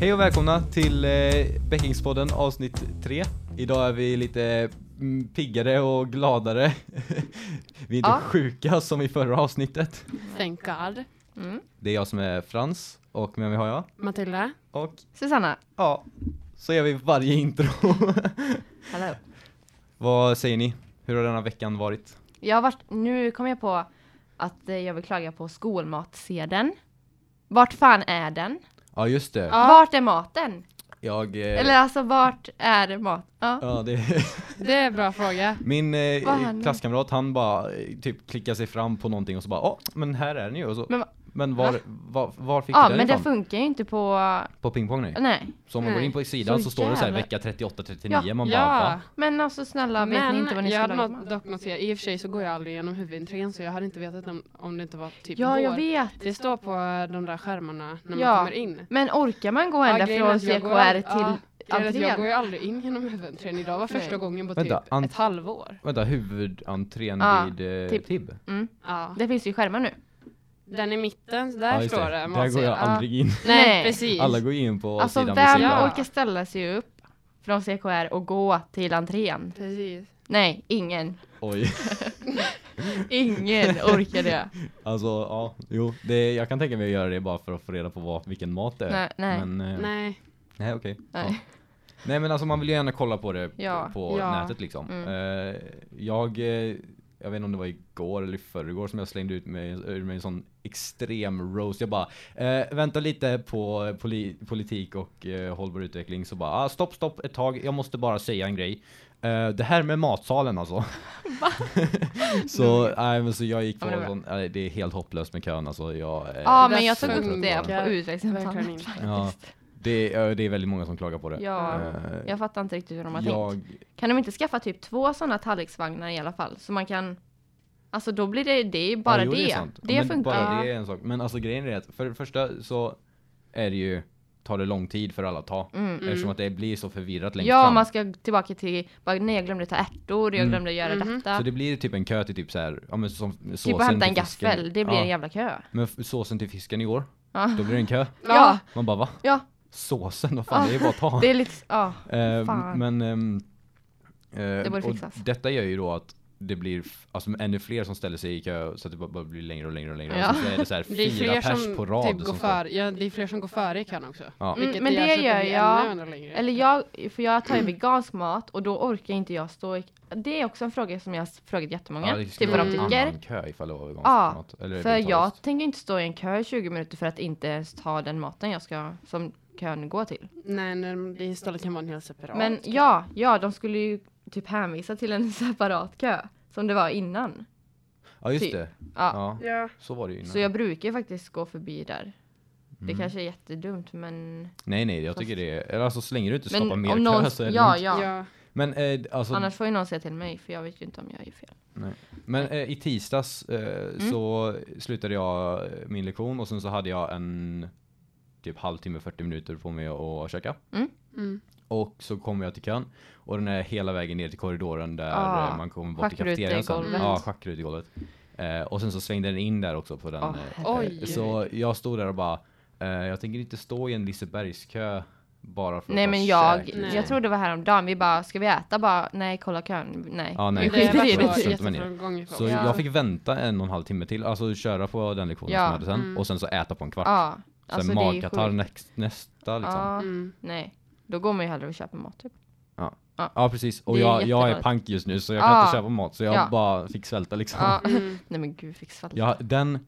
Hej och välkomna till eh, Bäckingspodden avsnitt 3. Idag är vi lite mm, piggare och gladare. vi är inte Ja. sjuka som i förra avsnittet. Thank God. Mm. Det är jag som är Frans och med mig har jag. Matilda. Och Susanna, ja, så gör vi varje intro. hallå. Vad säger ni? Hur har denna veckan varit? Jag har varit, nu kom jag på att eh, jag vill klaga på skolmatsedeln. Vart fan är den? Ja just det. Ja. Vart är maten? Jag... Eh, Eller alltså vart är mat? Ja. Ja, det Det är en bra fråga. Min Vad eh, händer? klasskamrat han bara eh, typ klickar sig fram på någonting och så bara ja, men här är den ju och så, Men men, va- var, var, var fick Ja du den men det ifrån? funkar ju inte på, På pingpong nej. nej. Så om man går Nej. in på sidan så, Så står det så här jävla- vecka 38-39 man bara Ja, va? Men alltså snälla vet ni men inte vad ni jag ska hade laga? något, mat? dock noterat, i och för sig så går jag aldrig igenom huvudintrycken så jag hade inte vetat om, om det inte var typ Ja vår. jag vet. Det står på de där skärmarna när Ja. man kommer in. Men orkar man gå Ja, ända grejen är från att jag går CKR all- till Ja, grejen är att jag entrén? går ju aldrig in genom huvudentrén. Idag var första Nej. gången på typ Vänta, ant- ett halvår. Vänta, huvudentrén Ja, vid eh, typ. TIB? Mm. Ja. Det finns ju skärmar nu. Den i mitten, så där just står det. det. Där går matsedeln. jag aldrig in. Nej, Nej. precis. Alla går in på Alltså sidan vem vid sidan. Ja. orkar ställa sig upp från CKR och gå till entrén? Precis. Nej, ingen. Oj, Ingen orkar det. alltså ja, jo, det, jag kan tänka mig att göra det bara för att få reda på vad, vilken mat det är. Nej, nej. Men, eh, Nej. Nej okej. Nej. Ja. Nej men alltså man vill ju gärna kolla på det Ja. Mm. på Ja. nätet liksom. Eh, jag, eh, jag vet inte om det var igår eller i förrgår som jag slängde ut mig ur mig en sån extrem roast. Jag bara, eh, vänta lite på poli- politik och eh, hållbar utveckling så bara, ah, stopp stopp ett tag, jag måste bara säga en grej. Eh, det här med matsalen alltså. så, nej, men så jag gick på Ja, men det en var- sån, nej, det är helt hopplöst med kön alltså. Jag, eh, Ja, Det men jag tog upp funkar det på Verkligen utvecklingssamtalet. inte. ja, det, ja, det är väldigt många som klagar på det. Ja, Eh, jag fattar inte riktigt hur de har tänkt. jag, Kan de inte skaffa typ två sådana tallriksvagnar i alla fall? Så man kan... Alltså då blir det, det är ju bara Ja, jo, det. är Det, sant. men funkar. Bara det är en sak. Men alltså grejen är att för det första så är det ju, tar det lång tid för alla att ta. Mm. Eftersom att det blir så förvirrat längst Ja, fram. man ska tillbaka till, bara, nej jag glömde ta ärtor, jag Mm. glömde göra Mhm. detta. Så det blir typ en kö till typ så här, ja men som såsen typ att hämta en till fisken. gaffel, det blir ja. en jävla kö. Men f- såsen till fisken i år, Ja. då blir det en kö. Ja, Man bara va? Ja. Såsen, vad fan det är ju bara att ta. det är lite, ja. Eh, fan. men ehm, eh, borde och fixas. detta gör ju då att det blir f- alltså, ännu fler som ställer sig i kö så att det bara, bara blir längre och längre och längre. Ja. Och så är det så här Det är fyra fler pers som på rad. typ går som står. före, ja, det är fler som går före i kön också. Ja. Mm, men det så att gör blir jag. ännu, ännu längre. Eller jag, för jag tar ju vegansk mat och då orkar inte jag stå i, Det är också en fråga som jag har frågat jättemånga. Ja, det typ skulle vad vara de en tycker. annan kö ifall det var veganskt Ja, eller något. Eller För jag vegetariskt. tänker inte stå i en kö i 20 minuter för att inte ens ta den maten jag ska, som kön går till. Nej, nej, men det istället kan vara en hel separat. Men ja, ja, de skulle ju typ hänvisa till en separat kö. Som det var innan. Ja just typ. det. Ja. Ja, Ja. så var det ju innan. Så jag brukar ju faktiskt gå förbi där. Det Mm. kanske är jättedumt men... Nej nej, jag tycker det är... eller Alltså så länge du inte Men skapar mer om kö någon- så är det ja, lugnt. ja, ja. Men, eh, alltså, Annars får ju någon säga till mig för jag vet ju inte om jag är fel. men eh, i tisdags eh, Mm. så slutade jag eh, min lektion och sen så hade jag en typ halvtimme, 40 minuter på mig att käka. Mm. Och så kom jag till kön och den är hela vägen ner till korridoren där Ah, eh, man kommer bort till schackrut i kafeterian sen. golvet. Ja, schackrut i golvet. Eh, och sen så svängde den in där också på den. Ah, eh, Oj. Så jag stod där och bara, eh, jag tänker inte stå i en Lisebergskö bara för att Nej ta men jag, käk, Nej. jag tror det var häromdagen, vi bara ska vi äta? Bara nej kolla kön, nej. Ja, nej. Vi Det är skiter verkligen har i det. så. varit Struntar man i. jätteframgång Så Ja. jag fick vänta en och en halv timme till, alltså köra på den lektionen Ja. som jag hade sen Mm. och sen så äta på en kvart. Ja, sen alltså det är ju magkatarr sjukt. näx- nästa liksom. Ja, Ja, Mm. nej. Då går man ju hellre och köper mat typ. precis, och Det är jag, jag är jättedåligt. pank just nu så jag kan Ja. inte köpa mat så jag Ja. bara fick svälta liksom. Ja. Mm. Nej men gud fick svälta. Jag, den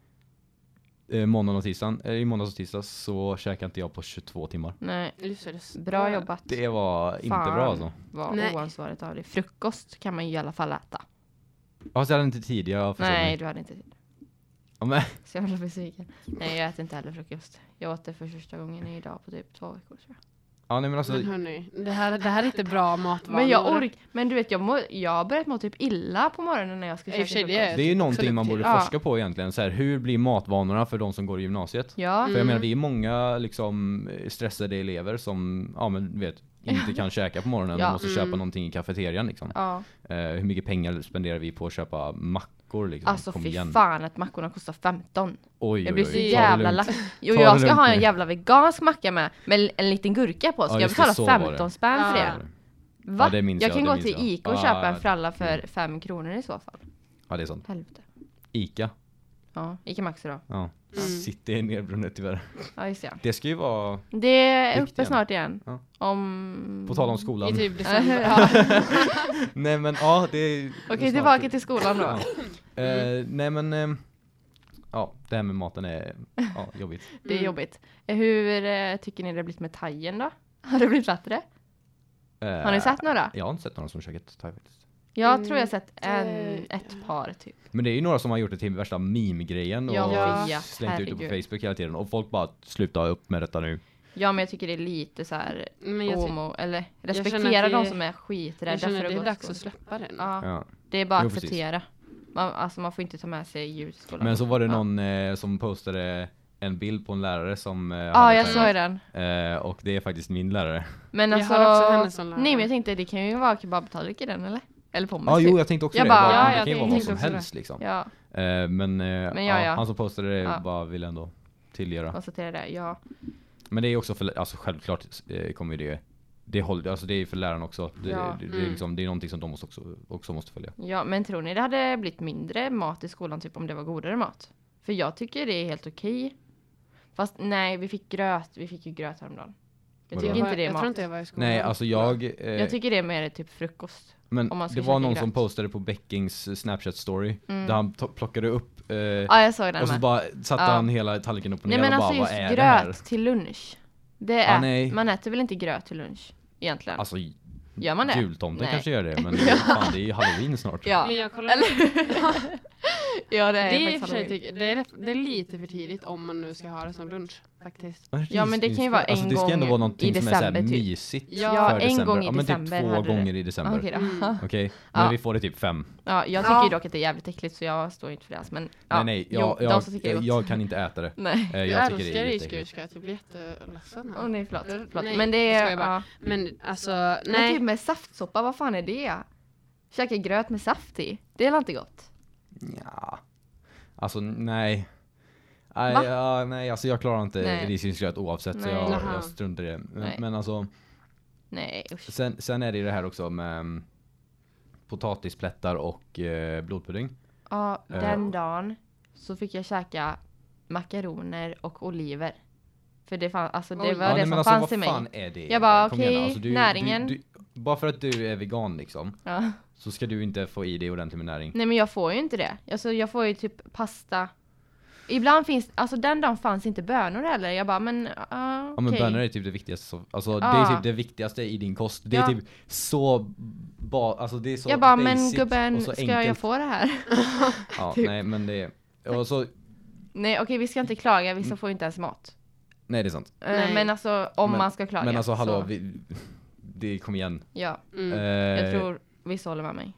eh, måndagen och tisdagen, eh, i måndags och tisdags så käkade inte jag på 22 timmar. Nej, Just det, det står- bra jobbat. Det var inte Fan. bra alltså. Vad Nej. oansvarigt av dig. Frukost kan man ju i alla fall äta. Alltså, Fast jag hade inte tid, jag försökte. Nej du hade inte tid. Ja, men, Så jag blev besviken. Nej jag äter inte heller frukost. Jag åt det för första gången idag på typ två veckor tror jag. ja, nej, men alltså, Men Mm-hmm. hörni, det här, det här är inte bra matvanor. Men jag ork, men du vet jag, må, jag har börjat må typ illa på morgonen när jag ska I och för käka sig, frukost. det är- Det är ju någonting man Absolut. borde Ja. forska på egentligen. Så här, hur blir matvanorna för de som går i gymnasiet? Ja. För jag Mm. menar, vi är många liksom, eh, stressade elever som ja, men, du vet, inte kan käka på morgonen Ja. och måste Mm. köpa någonting i kafeterian. Liksom. Ja. Eh, hur mycket pengar spenderar vi på att köpa mackor mackor liksom. Alltså Kom fy igen. fan att mackorna kostar 15. Oj, Jag blir så Ta det jävla lugnt. lack. Jo Ta det jag ska lugnt ha en nu. jävla vegansk macka med, med en liten gurka på. Ja, Ska jag just det, betala så var det. 15 spänn för Ja. det? Va? det minns jag jag, kan det gå minns till jag. Ica och Ah, köpa en ja. fralla för 5 kronor i så fall. Ja det är sant. Helvete. Ica. Ja, Ica Maxi då. Ja. Mm. City är nedbrunnet tyvärr. Ja just det. Det ska ju vara, Det är Riktigt uppe igen. snart igen. Ja. Om... på tal om I skolan. typ december. Ja. Nej men ja det är Okej, snart- tillbaka till skolan Mm. då. Ja. Eh, nej men, ehm, ja det här med maten är ja, jobbigt. Det är Mm. jobbigt. Hur eh, tycker ni det har blivit med thaien då? Har det blivit bättre? Eh, Har ni sett några? Jag har inte sett någon som käkat thai faktiskt. Jag Mm, tror jag har sett en, det- ett par typ. Men det är ju några som har gjort det till värsta meme-grejen och Jag vet, slängt ut det på herregud. Facebook hela tiden och folk bara sluta upp med detta nu. Ja, men jag tycker det är lite så här Men jag, ty- homo, eller känner att respektera det- de som är skiträdda jag känner för att att det gå är till dags skolan. att släppa det nu. Ja, Ja. det är bara Jo, att precis. acceptera. Man, alltså man får inte ta med sig djur till skolan. Men så var det Ja. någon eh, som postade en bild på en lärare som eh, Ja, jag thai- såg den. Eh, och det är faktiskt min lärare. Men Jag alltså, har också henne som lärare. nej men jag tänkte det kan ju vara kebabtallrik i den eller? Eller pommes Ja, ah, typ. jo jag tänkte också Jag det. bara, Bara, ja, det jag kan ju vara vad tänkte som också det. helst liksom. Ja, Eh, men eh, ja, ja, ja. han som postade det Ja. bara ville ändå tillgöra. konstatera det. Ja. Men det är också för, alltså självklart eh, kommer ju det, det håller, alltså det är för läraren också. Det, Ja. det, det, är Mm. liksom, det är någonting som de också, också måste följa. ja, men tror ni det hade blivit mindre mat i skolan typ om det var godare mat? För jag tycker det är helt okej. Fast nej, vi fick gröt. Vi fick ju gröt häromdagen. Jag Vadå? tycker jag inte var- det är jag mat. tror inte jag var i skolan. Nej alltså jag, eh, Jag tycker det är mer typ frukost. men om man ska det var käka någon gröt. som postade på Beckings eh, snapchat story Mm. där han to- plockade upp eh, Ja, jag såg den och så med. bara satte Ja. han hela tallriken upp och ner nej men och bara alltså vad just är det här? gröt till lunch. Det Ja, är, nej. man äter väl inte gröt till lunch egentligen? Alltså Gör man det? jultomten Nej. kanske gör det men fan, det är ju halloween snart. Ja. Men jag kollar ja, det är, Det är, i och faktiskt för sig, halloween. tycker- det, är, det är lite för tidigt om man nu ska ha det som lunch faktiskt. Ja, men det kan ju vara alltså, en det ska ändå gång vara någonting i som är december, såhär typ. mysigt Ja, för en december. gång i ja, men december typ två hade du det. gånger i december. Okej, Okej då. Mm. men Ja. vi får det typ fem. Ja, jag tycker ju dock att det är jävligt äckligt så jag står inte för det. alltså, Men, ja. Nej nej, Jo, jag, de jag, som tycker det är jag, gott. kan inte äta det. Nej. Eh, Jag, Jag tycker det älskar är jätteäckligt. risgurka, jag typ blir jätteledsen här. Åh nej, förlåt. Nej, förlåt. men det jag är... skojar bara. Ja. Men alltså, Men typ nej. med saftsoppa, vad fan är det? Käka gröt med saft i. Det är väl inte gott? Ja. Alltså nej. Nej, Va? ja, nej, alltså jag klarar inte Nej. risgrynsgröt oavsett så Nej. jag, Jaha. jag struntar i det. Men, Nej. men alltså, Nej usch. sen, sen är det ju det här också med mm, potatisplättar och eh, blodpudding. Ja, Eh. den dagen så fick jag käka makaroner och oliver. För det, fan, alltså, det Oj. var Ja, det nej, som men alltså, fanns vad i mig. fan är det? Jag bara, Kom igen, okej, alltså, du- näringen. Du, du, bara för att du är vegan liksom, Ja. så ska du inte få i dig ordentligt med näring. Nej men jag får ju inte det. Alltså, jag får ju typ pasta. Ibland finns, alltså den dagen fanns inte bönor heller. Jag bara men uh, okej. Ja men bönor är typ det viktigaste, som- alltså det är Ja. typ det viktigaste i din kost. Det är Ja. typ så, ba, alltså det är så Jag bara men basic gubben och så ska enkelt. jag få det här? Ja, typ. nej men det är, och så, Nej okej vi ska inte klaga, Mm. vissa får ju inte ens mat. nej det är sant. Eh, Nej. Men alltså om Men- man ska klaga. Men alltså hallå, så, vi, det, kom igen. Ja, Mm. Eh, jag tror vissa håller med mig.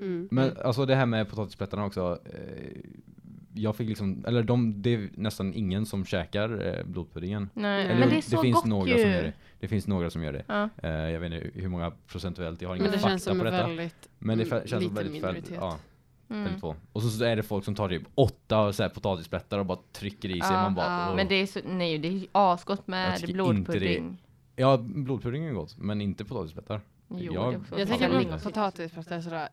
Mm. Men alltså det här med potatisplättarna också. Eh, jag fick liksom, eller de, det är nästan ingen som käkar eh, blodpuddingen. Nej, Eller Eh, men jo, det är så finns gott några ju. som gör det. Det finns några som gör det. Ja. Eh, jag vet inte hur många procentuellt, jag har Men ingen det känns Mm. fakta som på en detta. väldigt... men det mm, fa- känns som liten väldigt, fel, minoritet. ja, Mm. väldigt få. Och så, så är det folk som tar typ åtta så här potatisplättar och bara trycker i sig. Ja, man bara, ja. "Åh." Men det är så, nej det är ju asgott Jag med tycker blodpudding. Ja, blodpudding är gott, men inte potatisplättar. Jo, Jag- det är också Jag Jag tycker tänker Fan, gott. det är på potatisplattor sådär,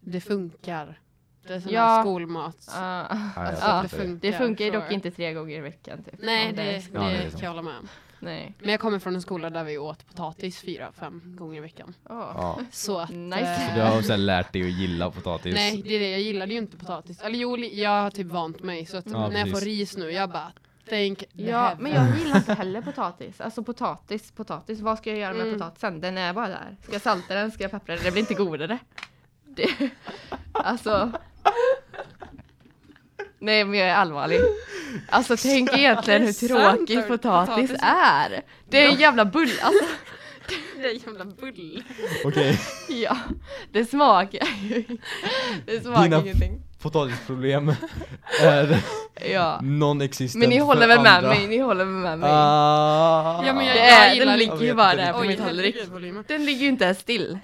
det funkar. Det är sån Ja. här skolmat. Ja, Nej, jag Alltså, fattar ja, det inte det. funkar. det funkar ju dock sure. inte tre gånger i veckan typ. Nej, Om det, det, Ja, det är sant. kan jag hålla med om. Nej. Men jag kommer från en skola där vi åt potatis fyra, fem gånger i veckan. Åh. Ja. Så att... Nice. Så eh, du har sen lärt dig att gilla potatis. Nej, det är det. Jag gillade ju inte potatis. Eller jo, li- jag har typ vant mig. Så att Ja, när jag får precis. ris nu, jag bara tänk Ja, men jag gillar inte heller potatis. Alltså potatis, potatis. Vad ska jag göra med Mm. potatisen? Den är bara där. Ska jag salta den? Ska jag peppra den? Det blir inte godare. Det, alltså. Nej, men jag är allvarlig. Alltså tänk egentligen hur Sant, tråkig hörru. potatis Potatis. är. Det är en jävla bull. Alltså, Det är jävla bull. Okej, ja, det smakar ju. Det smakar Dina- ingenting. potatisproblem är Ja. non-existent Men ni håller för väl med andra. mig? Ni håller väl med mig? Ah. Ja, men jag- det är, gillar- den Jag ligger ju vet bara inte där på riktigt. min tallrik. volymen. Den ligger ju inte ens still.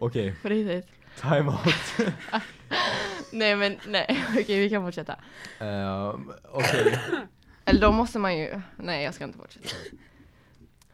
Okej, På riktigt. Time out. Nej men nej, okej vi kan fortsätta. Ehm, Okej. Eller då måste man ju, nej jag ska inte fortsätta.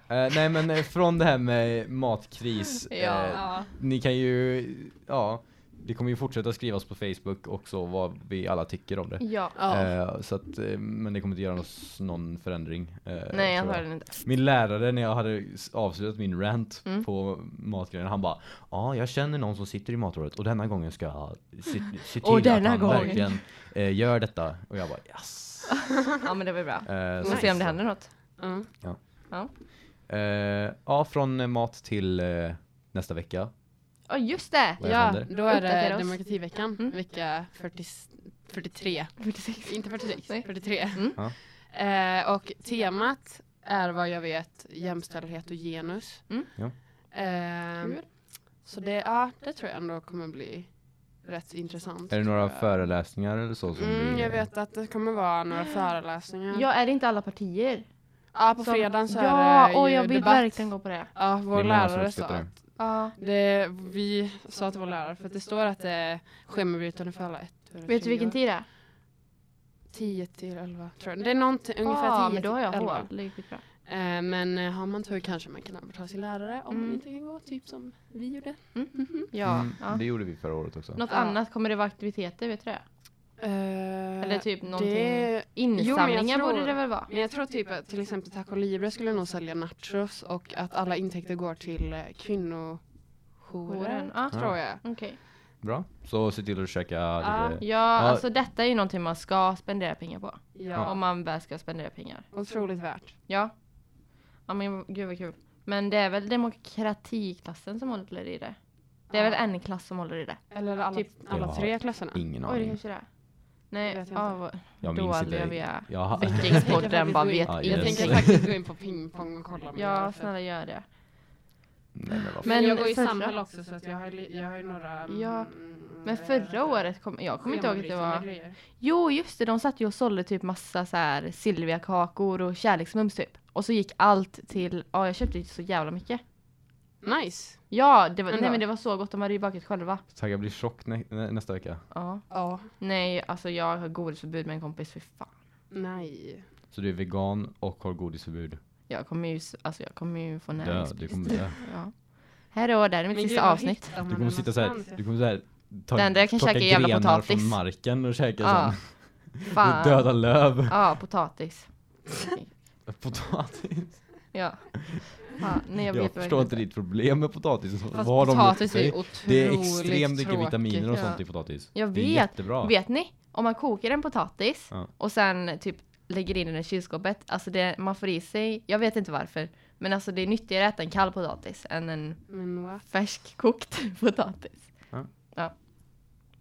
Eh, nej men eh, från det här med matkris. Ja. eh, Ja. ni kan ju, ja. Det kommer ju fortsätta skrivas på Facebook också vad vi alla tycker om det. Ja. Ja. Eh, så att, eh, men det kommer inte göra oss någon förändring. eh, Nej jag tror hör den inte. Min lärare när jag hade s- avslutat min rant Mm. på matgrejen, han bara Ja, jag känner någon som sitter i matrådet och denna gången ska jag se, se till Och att denna han gången." verkligen eh, gör detta. Och jag bara yes. Ja men det var bra. Eh, Vi så- får se om det händer något. Ja. Eh, ja, från eh, mat till eh, nästa vecka. Ja just det! Vad ja, händer? då är Uppdatera det oss. demokrativeckan, Mm. vecka 40, 43. 46. Inte 46, Nej. 43. Mm. Ja. Eh, och temat är vad jag vet jämställdhet och genus. Mm. Ja. Eh, Kul. så det, ja, det tror jag ändå kommer bli rätt intressant. Är det några tror jag. föreläsningar eller så? Som Mm, vi, jag vet att det kommer vara några föreläsningar. Ja är det inte alla partier? Ja, på som- fredagen så är det Ja, ju och jag vill debatt. verkligen gå på det. Ja, Det är vår många som lärare sa uppskattar det. att Ja. det, vi sa till vår lärare för att det står att det är schemabrytande för alla ett. Vet du vilken tid det är? 10 till 11 tror jag. Det är någonting, ungefär 10 ja, Ah, men då har jag till 11. hål. Det är skitbra. Eh, men eh, har man tur kanske man kan övertala sin lärare om man Mm. inte kan gå, typ som vi gjorde. Ja, Mm, ja. Det gjorde vi förra året också. Något Ja. annat, kommer det vara aktiviteter? Vet du det? Eh, Eller typ någonting? det, Jo, men Insamlingar jag tror- borde det väl vara? men jag tror typ att till exempel Taco Libre skulle nog sälja nachos och att alla intäkter går till eh, kvinnojourer. Jouren, ja. Tror jag. Okej. Bra. Så se till att käka Ja. lite. Ja, Ja. alltså detta är ju någonting man ska spendera pengar på. Om Ja. man väl ska spendera pengar. Otroligt värt. Ja. Ja men gud vad kul. Men det är väl demokratiklassen som håller i det? Det är Ja. väl en klass som håller i det? Eller alla, Typ- Jag alla har tre klasserna. Ingen Oj, det aning. kanske det är. Nej, Vet jag ja, inte. vad Jag minns dåliga vi inte. är. Jag ha- Vikingspodden bara Jag vet tänker faktiskt- Jag Yes. tänker faktiskt gå in på pingpong och kolla. med Ja, lärare. snälla gör det. Nej, men vad- Men Men jag går i förra- samhälle också så att jag har, li- jag har ju några... mm, Ja, mm, Men eh, förra året, kom, jag kommer inte ihåg att det schemabrytande var... grejer. Jo just det, de satt ju och sålde typ massa så här Silvia-kakor och kärleksmums typ. Och så gick allt till, ja jag köpte ju så jävla mycket. Nice. Ja, det var, Men nej då? men det var så gott, de hade ju bakat själva. Tagga blir tjock nä- nä- nästa vecka. Ja. Ja. Nej, alltså jag har godisförbud med en kompis, för fan. Nej. Så du är vegan och har godisförbud. Jag kommer ju, s- alltså jag kommer ju få Dö, näringsbrist. du kommer dö. Ja. Här då, där är mitt sista avsnitt. Du kommer sitta såhär, du kommer såhär ta, Det enda jag kan plocka käka är jävla grenar potatis. från marken och käka Ja. sen. Fan. Döda löv. Ja, potatis. Potatis. Ja. Fan, nej jag Jag, vet förstår verkligen inte ditt problem med potatis. Alltså, Fast Vad har de gjort potatis för är dig? ju otroligt Det är extremt mycket tråkigt. vitaminer och Ja. sånt i potatis. Jag Det är vet. jättebra. Vet ni? Om man kokar en potatis Ja. och sen typ lägger in den i kylskåpet, alltså det, man får i sig, jag vet inte varför, men alltså det är nyttigare att äta en kall potatis än en Men what? färskkokt potatis. Ja. Ja.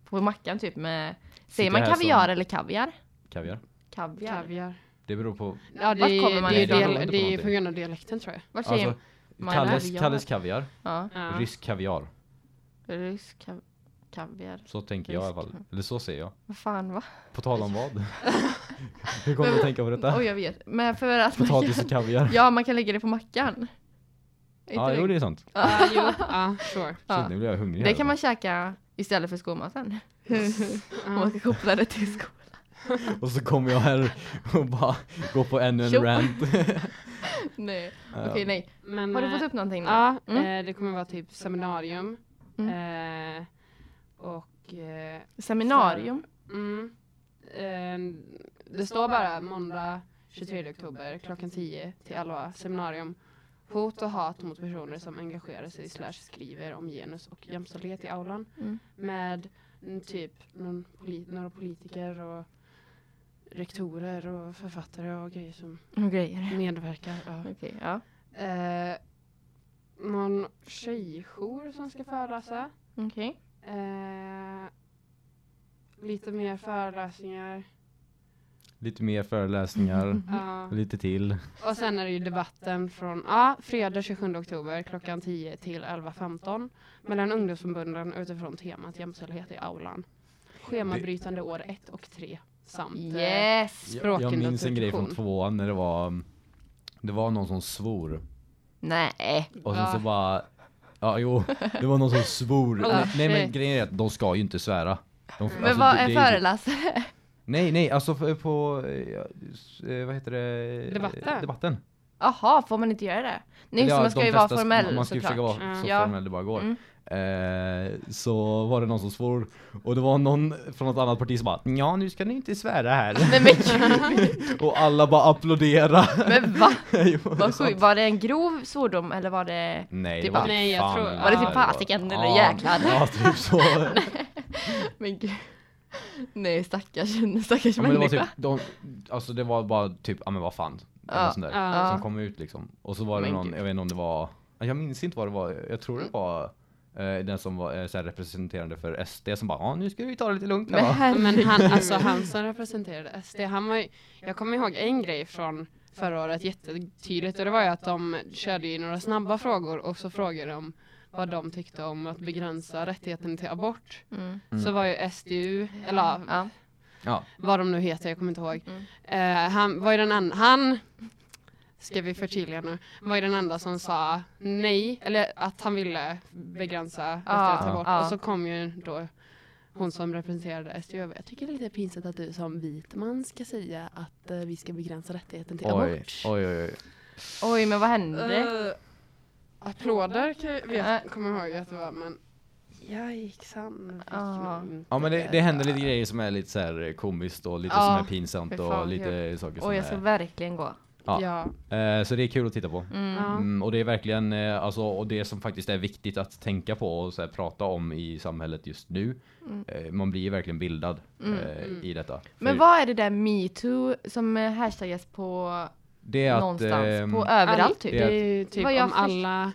På mackan typ med, Sitter säger man här som- kaviar eller kaviar? Kaviar. Kaviar. Kaviar. Det beror på. Ja, det, Vart kommer är- man det, är, ifrån? del, Beroende på det är på någonting. grund av dialekten tror jag. Vart säger Alltså, man Kalles, kaviar? Kalles kaviar. Ja. Ja. Rysk kaviar. Rysk kav- kaviar. Så tänker jag i alla fall. Rysk. Eller så säger jag. Vad fan va? På tal om vad? Hur kommer du att tänka på detta? Oj jag vet. Men för att man Potatis och kan, kaviar. Ja man kan lägga det på mackan. Är Ja, inte jo det- det är sant. Ja, jo. Ja, sure. Ja. Shit, nu blir jag hungrig. Det här. kan man käka istället för skolmaten. Om man Ja. ska koppla det till skolan. Och så kommer jag här och bara går på ännu en Tjo. rant. Nej. Ja. Okej, nej. Men, Har du eh, fått upp någonting nu? Ja, Mm. eh, det kommer vara typ seminarium. Eh, och... Eh, Seminarium? Mm. Eh, det står bara måndag 23 oktober klockan 10 till 11 seminarium. Hot och hat mot personer som engagerar sig slash skriver om genus och jämställdhet i aulan. Mm. Med mm, typ någon poli- några politiker och rektorer och författare och grejer som Och grejer. medverkar. Ja. Okej, ja. Eh, någon tjejjour som ska föreläsa. Okej. Eh, lite mer föreläsningar. Lite mer Mm. föreläsningar. Ja. Lite till. Och sen är det ju debatten från ja, fredag 27 oktober klockan 10 till 11.15 mellan ungdomsförbunden utifrån temat jämställdhet i aulan. Schemabrytande år 1 och 3 samt eh, Yes! Jag, jag minns en grej från språkintroduktion. tvåan när det var Det var någon som svor. Nej. Alltså, Ah. Och sen så Ja. bara Ja, jo. Det var någon som svor. Oh, nej, men shit. grejen är att de ska ju inte svära. De, alltså, Men vad det- är det är ju- föreläsare? Nej, nej, alltså f- på, eh, ja, s- eh, vad heter det? Debatten. Debatten. Jaha, får man inte göra det? Nej, Eller så ja, man ska de ju vara flesta- formell Man ska ju såklart. försöka vara Mm. så Ja. formell det bara går. Mm. Eh, så var det någon som svor och det var någon från något annat parti som bara ja nu ska ni inte svära här. Nej men gud, och alla bara applådera. men va? Jo, det är Vad sjukt. sant. Var det en grov svordom eller var det... Nej, Det det bara- var typ Nej, jag fan tror- värre. Var det typ Det fasiken eller ja, jäklar? Ja, typ så. Men gud. Nej stackars, stackars ja, men det var människa. typ, de, alltså det var bara typ, ja men vad fan. Eller Ja. något sånt där. Ja. Som kom ut liksom. Och så var det Men någon, gud. Mm. jag vet inte om det var, jag minns inte vad det var, jag tror det var eh, den som var eh, så här representerande för SD som bara ja nu ska vi ta det lite lugnt här, Men va? herregud. Men han, alltså han som representerade SD, han var ju, jag kommer ihåg en grej från förra året jättetydligt och det var ju att de körde ju några snabba frågor och så frågade de vad de tyckte om att begränsa rättigheten till abort. Mm. Mm. Så var ju SDU, eller ja, Ja. Ja. vad de nu heter, jag kommer inte ihåg. Mm. Eh, han var ju den andra, han, ska vi förtydliga nu, var ju den enda som sa nej, eller att han ville begränsa rättigheten till abort. ja. Och så kom ju då hon som representerade SDU över. Jag tycker det är lite pinsamt att du som vit man ska säga att eh, vi ska begränsa rättigheten till Oj, abort. oj, oj, oj. Oj men vad hände? Eh, applåder kan jag, Ja. vet, kommer jag ihåg att det var, men jajsan. fick Ja. nog inte Ja men det, det veta. händer lite grejer som är lite så här komiskt och lite Ja. som är pinsamt Fy fan, och lite saker som Oj jag ska är... verkligen gå. Ja. Ja. Eh, så det är kul att titta på. Mm. Ja. Mm, och det är verkligen, eh, alltså, och det som faktiskt är viktigt att tänka på och så här, prata om i samhället just nu. Mm. Eh, man blir ju verkligen bildad Mm, eh, mm. i detta. Men För vad är det där metoo som eh, hashtaggas på det är att, någonstans? ehm, på överallt All- typ? det- Det är ju typ Vad jag om först- alla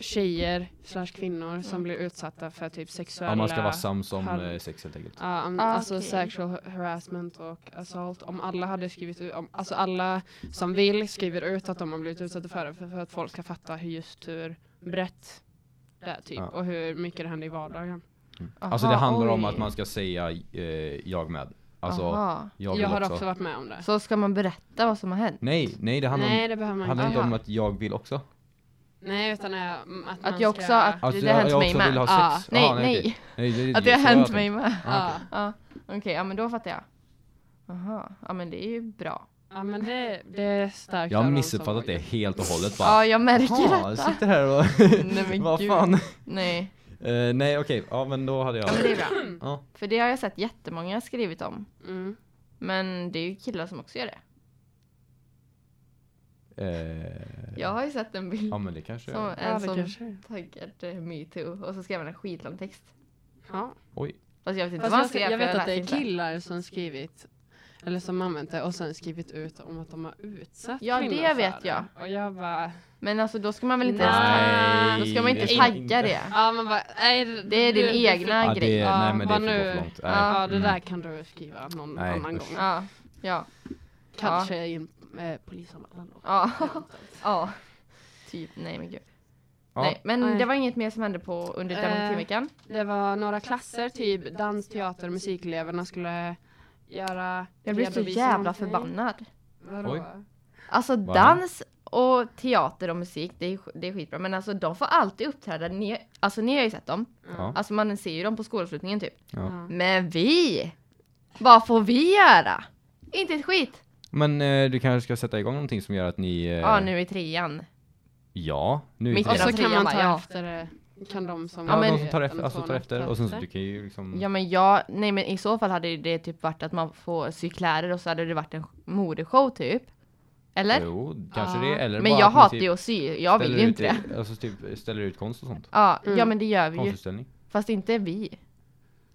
tjejer slash kvinnor som blir utsatta för typ sexuella... ja, man ska vara sams om Halv- eh, sex helt enkelt. Ja, om, Ah, alltså okej. sexual harassment och assault. Om alla hade skrivit ut, om, alltså alla som vill skriver ut att de har blivit utsatta för det för, för att folk ska fatta hur just hur brett det är typ Ja. och hur mycket det händer i vardagen. alltså det Aha, handlar om oj. att man ska säga eh, jag med. Alltså, Aha. jag Jag, vill har också. också. varit med om det. Så ska man berätta vad som har hänt? Nej, nej det handlar, Nej, det behöver om, man handlar inte. inte om Jaha. att jag vill också. Nej, utan eh, m- att, man Att jag också, ska... att Alltså, det har jag, hänt jag mig också vill med. ha sex. Ah, Nej, Jaha, nej. okej. nej. det är Att det har så jag hänt tänker. mig med. Ah, okej. ja. Ja. Okej, ja men då fattar jag. Aha, ja men det är ju bra. ja, men det, det är starkt. Jag av har dem som missuppfattat vågar. det helt och hållet bara. Ja jag märker Jaha, detta. sitter här och Nej men vad gud. fan. Nej, Eh, nej okej, ja men då hade jag... ja, men det är bra. Ja. För det har jag sett jättemånga skrivit om. Mm. Men det är ju killar som också gör det. Eh, Jag har ju sett en bild ja men det kanske som jag... Ja, en det som kanske. taggat eh, metoo och så skrev han en skitlång text. Ja. Oj. Fast jag vet Fast inte vad han jag, skrev. jag för vet att det är läste inte. killar som skrivit eller som använt det och sen skrivit ut om att de har utsatt Ja, det kvinnor för vet jag. Och jag bara, Men alltså då ska man väl inte ens tagga, Nej. då ska man inte det- tagga det. ja man bara, nej. Det, Det är din det- egna Ja, grej. det, Ja, nej men det är vad för, nu? för långt. Nej. Ja, det Mm. där kan du skriva någon Nej, annan usch. gång. Ja, ja, Kanske i en eh, polisanmälan då. ja, ja. Typ, nej men gud. Ja. Nej, men Nej. det var inget mer som hände på under Eh. demokrativeckan. Det var några klasser, typ dans, teater, musikeleverna skulle göra Jag blev så redovisning jävla någonting. förbannad. Vadå? Oj. Alltså Va? dans och teater och musik, det är, sk- det är skitbra. Men alltså de får alltid uppträda, ni, alltså ni har ju sett dem. Ja. Alltså man ser ju dem på skolavslutningen typ. Ja. Men vi! Vad får vi göra? Inte ett skit! Men eh, du kanske ska sätta igång någonting som gör att ni... eh, Ja, nu i trean. Ja, nu är Mitt det Och i tre. så Redan kan man trean ta bara, ja. efter eh, det. Kan de som Ja, men- de som tar efter, de alltså, två tar efter och sen så platser. du kan ju liksom... Ja men jag, nej men i så fall hade det typ varit att man får sy kläder och så hade det varit en modeshow typ. Eller? Jo, kanske Ja. det. Eller men bara jag att ni hatar typ ju att sy, jag vill ställer ju ut inte det. i- Alltså typ ställer ut konst och sånt. Ja, ja Mm. men det gör vi ju. Konstutställning. Fast inte vi.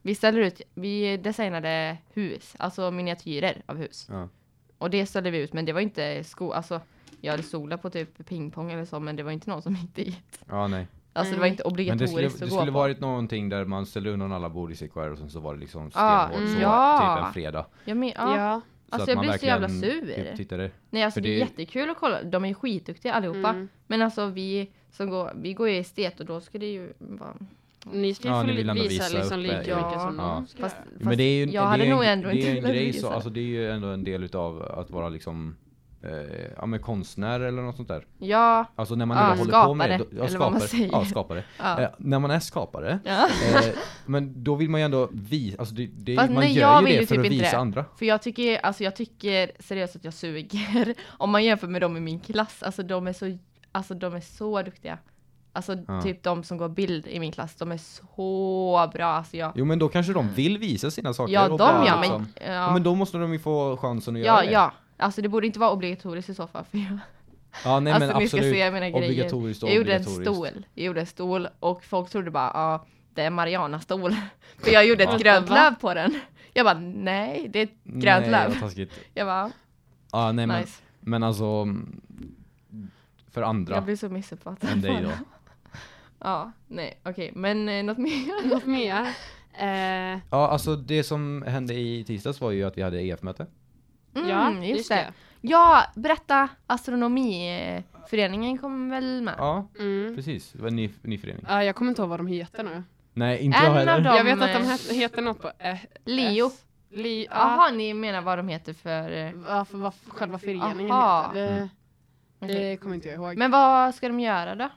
Vi ställer ut, vi designade hus, alltså miniatyrer av hus. Ja. Och det ställde vi ut men det var inte sko, alltså jag hade solat på typ pingpong eller så men det var inte någon som gick dit. Ja, nej. Alltså det var Nej. inte Men det obligatoriskt skulle, att det gå skulle på. varit någonting där man ställde undan alla bord i CKR och sen så var det liksom Ja, stenhårt så, mm. Ja. typ en fredag. Ja, men, ja. Ja. Så Alltså att jag man blir så jävla verkligen sur. Typ tittade. Nej alltså För det är det- jättekul att kolla, de är skitduktiga allihopa. Mm. Men alltså vi som går, vi går ju estet och då ska det ju vara... Ni ska ju Ja, få ni vill visa, ändå visa visa liksom upp, lika eh, mycket som Ja. de ska Fast, göra. fast Men det är ju, jag det är hade ju en, nog ändå det är inte en grej velat så, visa alltså det är ju ändå en del utav att vara liksom eh, eh, ja, men konstnär eller något sånt där. Ja. Alltså när man Ja, ändå håller på med skapare, då, ja, eller vad man säger. Ja, skapare. ja. Eh, när man är skapare, ja. eh, men då vill man ju ändå visa, alltså det, det, Fast man nej, gör jag ju vill det ju för typ att inte visa det. andra. För jag tycker, alltså jag tycker seriöst att jag suger. Om man jämför med dem i min klass, alltså de är så, alltså de är så duktiga. Alltså Ja. typ de som går bild i min klass, de är så bra. Alltså jag, Jo men då kanske de vill visa sina saker. ja och de bara ja, liksom- Ja, men, ja, men då måste de ju få chansen att ja, göra det. ja. Alltså det borde inte vara obligatoriskt i så fall. För jag, ja nej, alltså men ni ska absolut. se mina grejer. Obligatoriskt och Jag gjorde en obligatoriskt. stol, jag gjorde en stol och folk trodde bara ja, det är Mariana-stol. För jag gjorde Va? ett grönt Va? löv på den. Jag bara nej, det är ett grönt Nej, löv. vad taskigt. Jag bara Ja, nej men, nice. men alltså mm, för andra Jag blir så missuppfattad. än dig då. Ja, nej okej, men eh, något mer? Något mer? Eh, Ja, alltså det som hände i tisdags var ju att vi hade E EF-möte. Mm, ja, just, det. Ja, berätta, astronomiföreningen kom väl med? Ja, det. Mm. precis. Det var en ny, ny förening. Ja, jag kommer inte ihåg vad de heter nu. Nej, inte En jag av heller. dem- De, jag vet att de eh, het- heter något på eh, Leo. S. Li, ja. Jaha, ni menar vad de heter för... eh, Varför, vad själva föreningen Aha. heter. Mm. Det, okej. det kommer inte jag ihåg. Men vad ska de göra då? Eh,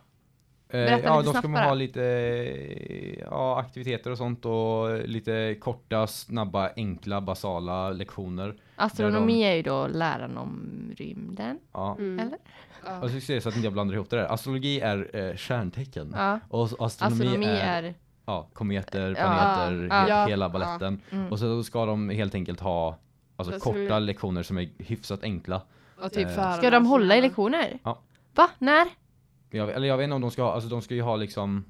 Berätta ja, lite de ska snabbt bara. ha lite eh, ja, aktiviteter och sånt och lite korta, snabba, enkla, basala lektioner. Astronomi är ju då läran om rymden. Ja. Mm. Eller? Ja. Och så ska jag säga så att inte jag blandar ihop det där. Astrologi är eh, stjärntecken. Ja. Och s- astronomi, Astronomi är, Alltså, är... ja, kometer, Ja, planeter, ja, he- ja, hela ja. balletten. Mm. Och så ska de helt enkelt ha alltså, Så ska korta vi- lektioner som är hyfsat enkla. Och typ Eh, förarna Ska de som hålla i är- lektioner? Ja. Typ Va? När? Jag, eller jag vet inte om de ska ha, alltså de ska ju ha liksom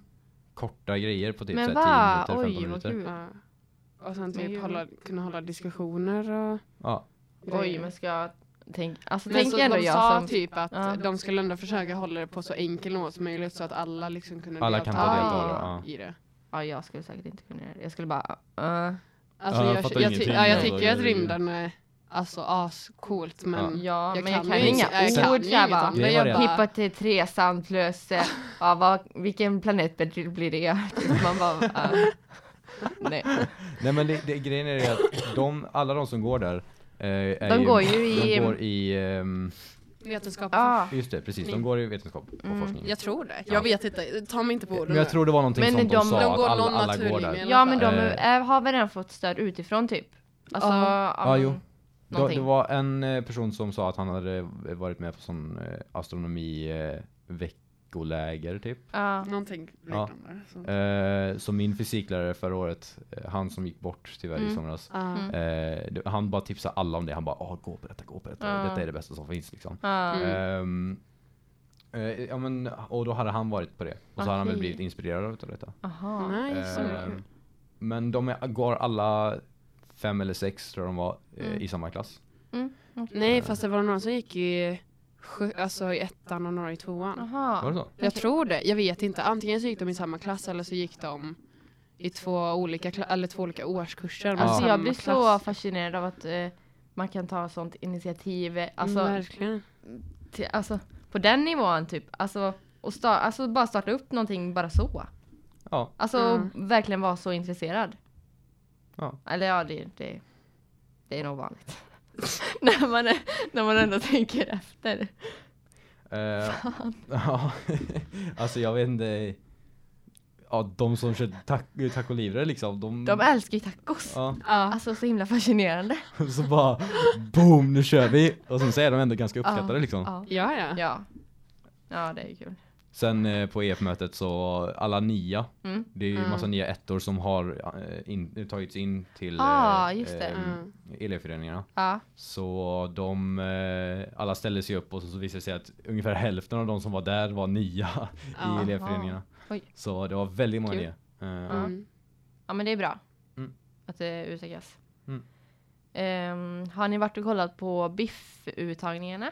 korta grejer på typ Men så va? här, 10 minuter, 15 Oj, vad minuter. kul. Ja. Och sen Men typ gud. hålla, kunna hålla diskussioner och Ja. Oj, grejer. men ska jag... Tänk, alltså, Men tänk så ändå de jag sa som... typ att Ja. de skulle ändå försöka hålla det på så enkel nivå som möjligt så att alla liksom kunde Alla delta kan ta del i- av det, ja. i det. Ja, jag skulle säkert inte kunna göra det. Jag skulle bara... eh, Alltså, Ja, jag jag, fattar jag, jag, ingenting ja, jag av tycker det. att rymden är alltså ascoolt men ja, jag men jag kan kan ju ju inga inte- jag kan ord. Typ ju så här inget bara. om det. Jag bara- Pippa till tre sandlös. eh, Ja, vad, vilken planet blir blir det? Typ Man bara, eh, nej. Nej men det, det, grejen är ju att de, alla de som går där eh, är De går ju i- De går i, ehm, vetenskap. Ah, just det precis, de går i vetenskap och Mm. forskning. Jag tror det. Ja. Jag vet inte, ta mig inte på orden Men jag tror det var någonting Men som de, de- sa, de att går alla, någon alla går där. naturlinje. ja, men de Eh. är, har väl redan fått stöd utifrån typ? Alltså, Ja. Ja, jo. Det, någonting. det var en eh, person som sa att han hade eh, varit med på sån eh, astronomi eh, veckoläger typ. Ja. nu. Någonting Ja. liknande. så. Eh, så min fysiklärare förra året, eh, han som gick bort tyvärr i Mm. somras. Ja. Mm. Eh, det- han bara tipsade alla om det. Han bara ah gå på detta, gå på detta. Ja. Detta är det bästa som finns liksom. Ja. Mm. Ehm, eh, ja, men, och då hade han varit på det. Och så hade han väl Okej. blivit inspirerad av detta. Aha. Nice. Ehm, Mm. men de är, går alla fem eller sex tror jag de var eh, Mm. i samma klass. Nej fast det var någon som gick i, sju- alltså i ettan och några i tvåan. Aha. Var det så? Jag tror det, jag vet inte. Antingen så gick de i samma klass eller så gick de i två olika, kla- eller två olika årskurser. men Alltså samma jag blir så klass. fascinerad av att eh, man kan ta sånt initiativ. eh, Alltså, Mm, Verkligen. till, alltså på den nivån typ. Alltså, och sta- alltså bara starta upp någonting bara så. Ja. Alltså Mm. verkligen vara så intresserad. Ja. Eller ja, det, det, det är nog vanligt. när, man är, när man ändå tänker Mm. efter. Eh, ja. alltså jag vet inte. Ja, de som kör tac- tacolivre liksom. De, De älskar ju tacos. ja, Ja. Alltså så himla fascinerande. så bara boom, nu kör vi. Och sen så är de ändå ganska uppskattade liksom. Ja. Ja, ja. ja. Ja, det är ju kul. Sen eh, på EF-mötet så alla nia, Mm. det är ju Mm. massa nya ettor som har eh, in, tagits in till eh, Ah, just det. Mm. elevföreningarna. Ja. Så de, eh, alla ställde sig upp och så, så visade det sig att ungefär hälften av de som var där var nya i Ja. elevföreningarna. Ah. Oj. Så det var väldigt många Kul. nya. Eh, Ja. Mm. Ja men det är bra. Mm. Att det utökas. Mm. Ehm, har ni varit och kollat på biffuttagningarna?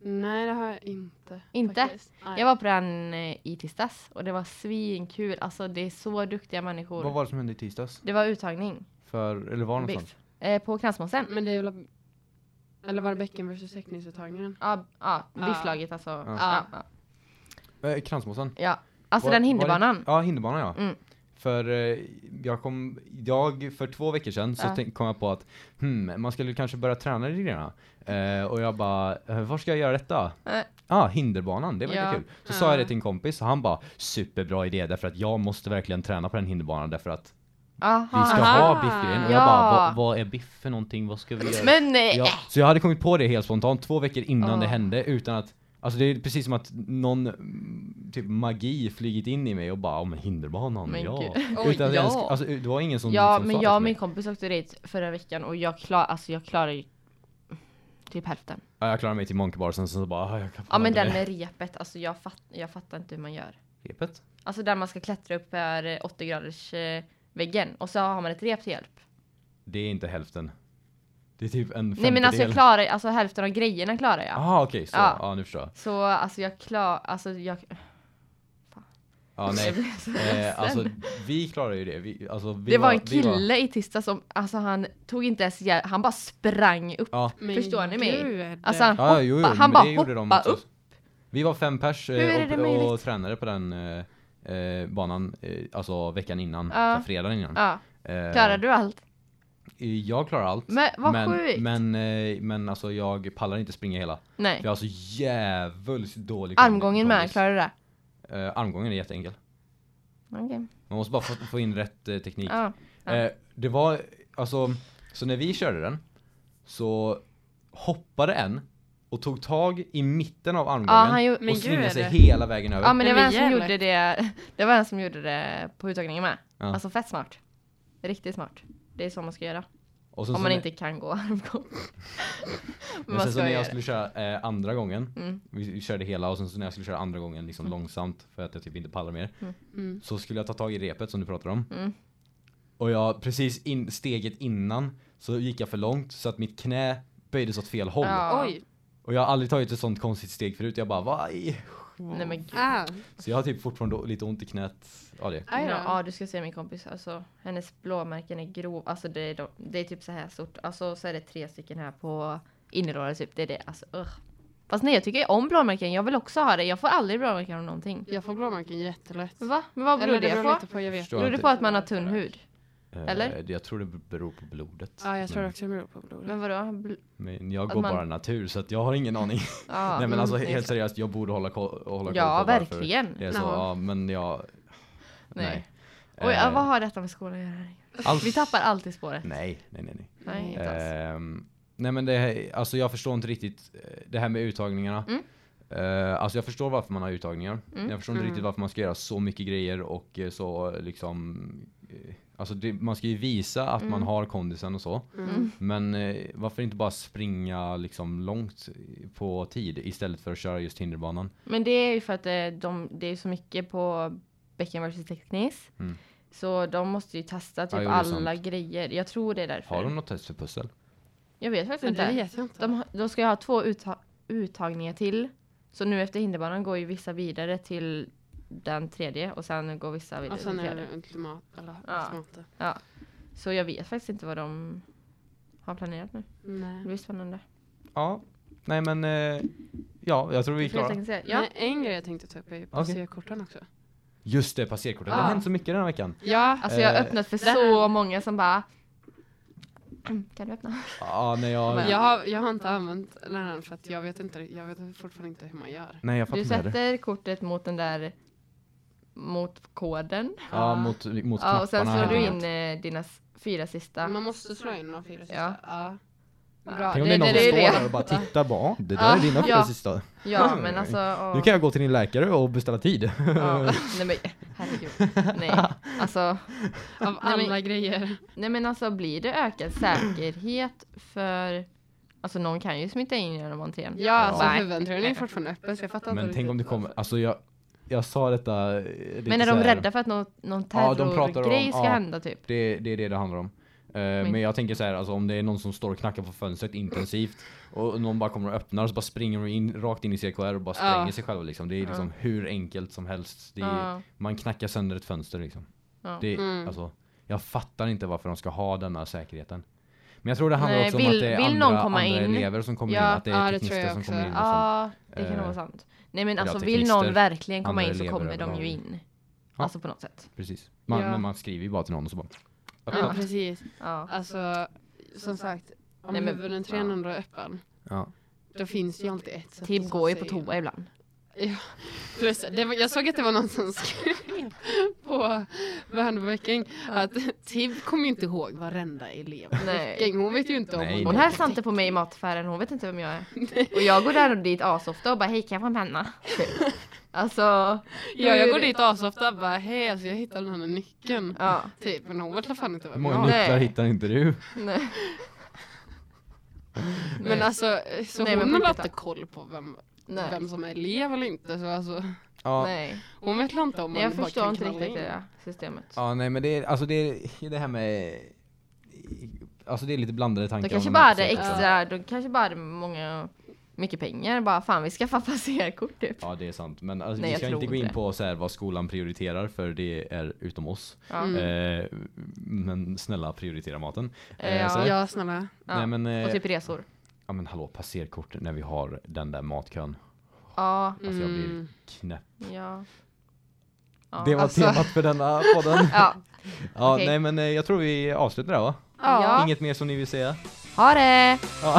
Nej det har jag inte. Inte? faktiskt. Nej. Jag var på den eh, i tisdags och det var svinkul. Alltså det är så duktiga människor. Vad var det som hände i tisdags? Det var uttagning. För, eller var det någonstans? Biff. Eh, på Kransmåsen. Men det är väl... Eller var det bäcken versus teckningsuttagningen? Ja, ja, Ja. bifflaget alltså. Ja. Ja. Ja, Eh, Kransmåsen? Alltså Var- var den det- hinderbanan. Ja, hinderbanan ja. Mm. För eh, jag kom, jag, för två veckor sedan så Ja. tänk, kom jag på att hmm, man skulle kanske börja träna lite grann. Eh, och jag bara, eh, var ska jag göra detta? Eh. Ah, hinderbanan, det verkar Ja. kul. Så sa jag Ja. det till en kompis och han bara, superbra idé därför att jag måste verkligen träna på den hinderbanan därför att vi ska Aha. ha biffgrejen. Och jag Ja. Alltså, bara, vad, vad är biff för någonting? Vad ska vi göra? Men eh, nej! Ja, så jag hade kommit på det helt spontant två veckor innan det Ah. hände utan att Alltså det är precis som att någon mm, typ magi flugit in i mig och bara om hinderbanan, Men ja. gud. Utan Oj, att jag ens, ja. alltså, det var ingen som, ja som sa men det jag till och mig. min kompis åkte dit förra veckan och jag, klar, alltså, jag klarade ju typ hälften. Ja, jag klarade mig till Monkey Bar sen så bara, ah, jag kan Ja men inte den med med repet, alltså jag, fatt, jag fattar inte hur man gör. repet. Alltså där man ska klättra upp för eh, 80 graders eh, väggen och så har man ett rep till hjälp. Det är inte hälften. Det är typ en femtedel. Nej men alltså jag klarar, alltså hälften av grejerna klarar jag. Ah okej, så, ja Ja. nu förstår jag. Så alltså jag klarar, alltså jag... Ja jag nej. blev så Eh, alltså ledsen. vi klarade ju det. Vi, alltså, vi det var en vi kille i tisdag som, alltså han tog inte ens hjälp, han bara sprang upp. ja, Men Förstår ni mig? gud. Alltså han ja hoppade, jo, jo, han men bara det gjorde de hoppade också. upp. Vi var fem pers eh, Hur är det och, och möjligt? tränade på den eh, eh, banan, eh, alltså veckan innan, Ja. så fredagen innan. Ja, Eh, klarade du allt? Jag klarar allt. Men vad sjukt! men, men, eh, men alltså jag pallar inte springa hela. Nej. För jag har så djävulskt dålig Armgången med, kondis. klarar du det? Eh, armgången är jätteenkel. Okej. Man måste bara få, få in rätt eh, teknik. Ja. Ja. Eh, det var, alltså, så när vi körde den så hoppade en och tog tag i mitten av armgången han gjorde- men och svingade gud. sig hela vägen över. Ja men det Nej, var men en som jävlar. gjorde det, det var en som gjorde det på uttagningen med. Ja. Alltså fett smart. Riktigt smart. Det är så man ska göra. och sen, Om så man när- inte kan gå armgång. Men Men man sen så ska när göra jag det. skulle köra eh, andra gången, Mm. vi, vi körde hela och sen så när jag skulle köra andra gången liksom långsamt för att jag typ inte pallar mer. Mm. Så skulle jag ta tag i repet som du pratade om. Mm. Och jag precis in, steget innan så gick jag för långt så att mitt knä böjdes åt fel håll. Ja. Oj. Och jag har aldrig tagit ett sånt konstigt steg förut. Jag bara vaj. Nej men gud. Ah. Så jag har typ fortfarande lite ont i knät. Ja, det. Aj då. Ja, ja, du ska se min kompis. Alltså, hennes blåmärken är grov. Alltså det är, de, det är typ så här stort. Alltså så är det tre stycken här på innerlåret typ. Det är det. Alltså ugh. Fast nej jag tycker ju om blåmärken. Jag vill också ha det. Jag får aldrig blåmärken av någonting. Jag får blåmärken jättelätt. Va? Men vad beror Eller det, det beror på? lite på, jag vet. Förstår. Beror det på att man har tunn hud? Eh, Eller? Jag tror det beror på blodet. Ja, jag tror men, också det beror på blodet. Men vadå? Bl- men jag att går man- bara natur så att jag har ingen aning. ja, Nej men mm, alltså nej, helt seriöst, jag borde hålla koll, hålla koll Ja, på varför verkligen. Det är så, Jaha. ja, men jag... Nej. Nej. Eh, Oj, ja, vad har detta med skolan att göra? allt- Vi tappar alltid spåret. Nej, nej, nej. nej. Nej, inte alls. Ehm, nej men det här, alltså jag förstår inte riktigt eh, det här med uttagningarna. Mm. Eh, alltså jag förstår varför man har uttagningar. Mm. Jag förstår inte Mm. riktigt varför man ska göra så mycket grejer och eh, så liksom... eh, Alltså det, man ska ju visa att man Mm. har kondisen och så. Mm. Men eh, varför inte bara springa liksom långt på tid istället för att köra just hinderbanan? Men det är ju för att eh, de, det är så mycket på Becken vs Teknis. Mm. Så de måste ju testa typ jo, det är alla grejer. Jag tror det är därför. Har de något test för pussel? Jag vet faktiskt Men det inte. vet jag inte. De, har- de ska ju ha två utta- uttagningar till. Så nu efter hinderbanan går ju vissa vidare till den tredje och sen går vissa vidare Och till den sen är fjärde. det ultimat, eller Ja. ultimata. Så jag vet faktiskt inte vad de har planerat nu. Det Nej. blir spännande. Ja, nej men eh, ja, jag tror vi är Vi får klara. helt enkelt se. Ja. Ja. Nej, en grej jag tänkte ta upp är ju passerkorten också. Just det, passerkortet. Det Ja. har hänt så mycket den här veckan. Ja. Alltså jag har Eh, öppnat för där- så många som bara Kan du öppna? Ja, nej jag... Men- Jag har, jag har inte använt den här för att jag vet, inte, jag vet fortfarande inte hur man gör. Nej jag fattar Du inte heller. sätter kortet mot den där Mot koden Ja, mot, mot ja, Och sen knapparna slår du här. in eh, dina s- fyra sista Man måste slå in de fyra sista. Ja. Ja. Ja. Bra. Tänk om det är någon det som är står det. där och bara tittar bara, det där Ja. är dina fyra Ja. sista. Ja men alltså åh. Nu kan jag gå till din läkare och beställa tid. ja. Nej men herregud Nej alltså Av Nej, alla men- grejer. Nej men alltså blir det ökad säkerhet för Alltså någon kan ju smita in genom entrén Ja, alltså Nej. huvudentrén är ju fortfarande öppen så jag fattar inte Men tänk riktigt om det kommer, alltså jag, jag sa detta eh, lite Men är så de här. rädda för att någon, någon Ja, de pratar om- terrorgrej ska ja. hända typ? Det, det är det det handlar om. Eh, Men jag tänker så här, alltså, om det är någon som står och knackar på fönstret intensivt och någon bara kommer och öppnar så bara springer de in rakt in i CKR och bara Ja. spränger sig själva liksom. Det är liksom hur enkelt som helst. Det är, Ja. Man knackar sönder ett fönster liksom. Ja. Det är, Mm. alltså, jag fattar inte varför de ska ha denna säkerheten. Men jag tror det handlar Nej, också om vill- att det är vill andra, någon komma andra in? elever som kommer Ja, in, att det är ja, det tror teknister jag som också. kommer in. Och sånt. Ja, det kan nog Eh, vara sant. Nej men eller alltså ja, vill teknister, någon verkligen komma andra in så elever kommer de överlag. ju in. Ja. Alltså på något sätt. Precis. Man, Ja. Men man skriver ju bara till någon och så bara... Ja, Öppna. precis. Ja. Alltså, som sagt, om Nej, men- huvuden 300 är öppen, Ja. då finns det ju alltid ett sätt Tim att går ju ta Typ på sig in. toa ibland. Plus, det var, jag såg att det var någon som skrev på Värnbäcking att Tiv kommer ju inte ihåg varenda elev. Nej. Hon vet ju inte om Nej, nej. Hon hälsade inte på mig i mataffären, hon vet inte vem jag är. Och jag går där och dit asofta och bara hej kan jag få en penna? Typ. Alltså, Ja, jag går dit asofta och bara hej alltså jag hittade den här nyckeln. ja. Typ, men hon vet fan inte Hur vem många jag ny- är. nycklar Nej. hittar inte du? Nej. Men alltså, så Nej, men hon har väl på riktigt, inte koll på vem, Nej. vem som är elev eller inte. Så alltså, Ja. Nej. hon vet väl inte om Nej, man jag bara förstår kan inte knalla riktigt det in. där systemet. Ja, nej men det är, alltså det är det här med... Alltså det är lite blandade tankar. De om kanske de bara här hade projekten. extra, de kanske bara hade många, mycket pengar bara fan vi skaffar passerkort typ. Ja, det är sant. Men alltså, Nej, vi jag ska tror inte gå in inte det. på så här, vad skolan prioriterar, för det är utom oss. Ja. Mm. Eh, men snälla, prioritera maten. Eh, Ja. så- Ja, snälla. Ja. Nej, men, eh, Och typ resor. ja, men hallå, passerkort när vi har den där matkön. Ja, Alltså jag blir Mm. knäpp. ja. Ja. det var alltså- temat för denna podden. Ja. ja, Okej. Nej men eh, jag tror vi avslutar där va? Ja. Inget mer som ni vill säga? Ha det! Ja.